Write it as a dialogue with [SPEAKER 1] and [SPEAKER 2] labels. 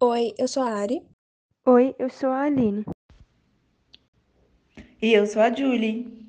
[SPEAKER 1] Oi, eu sou a Ari.
[SPEAKER 2] Oi, eu sou a Aline.
[SPEAKER 3] E eu sou a Julie.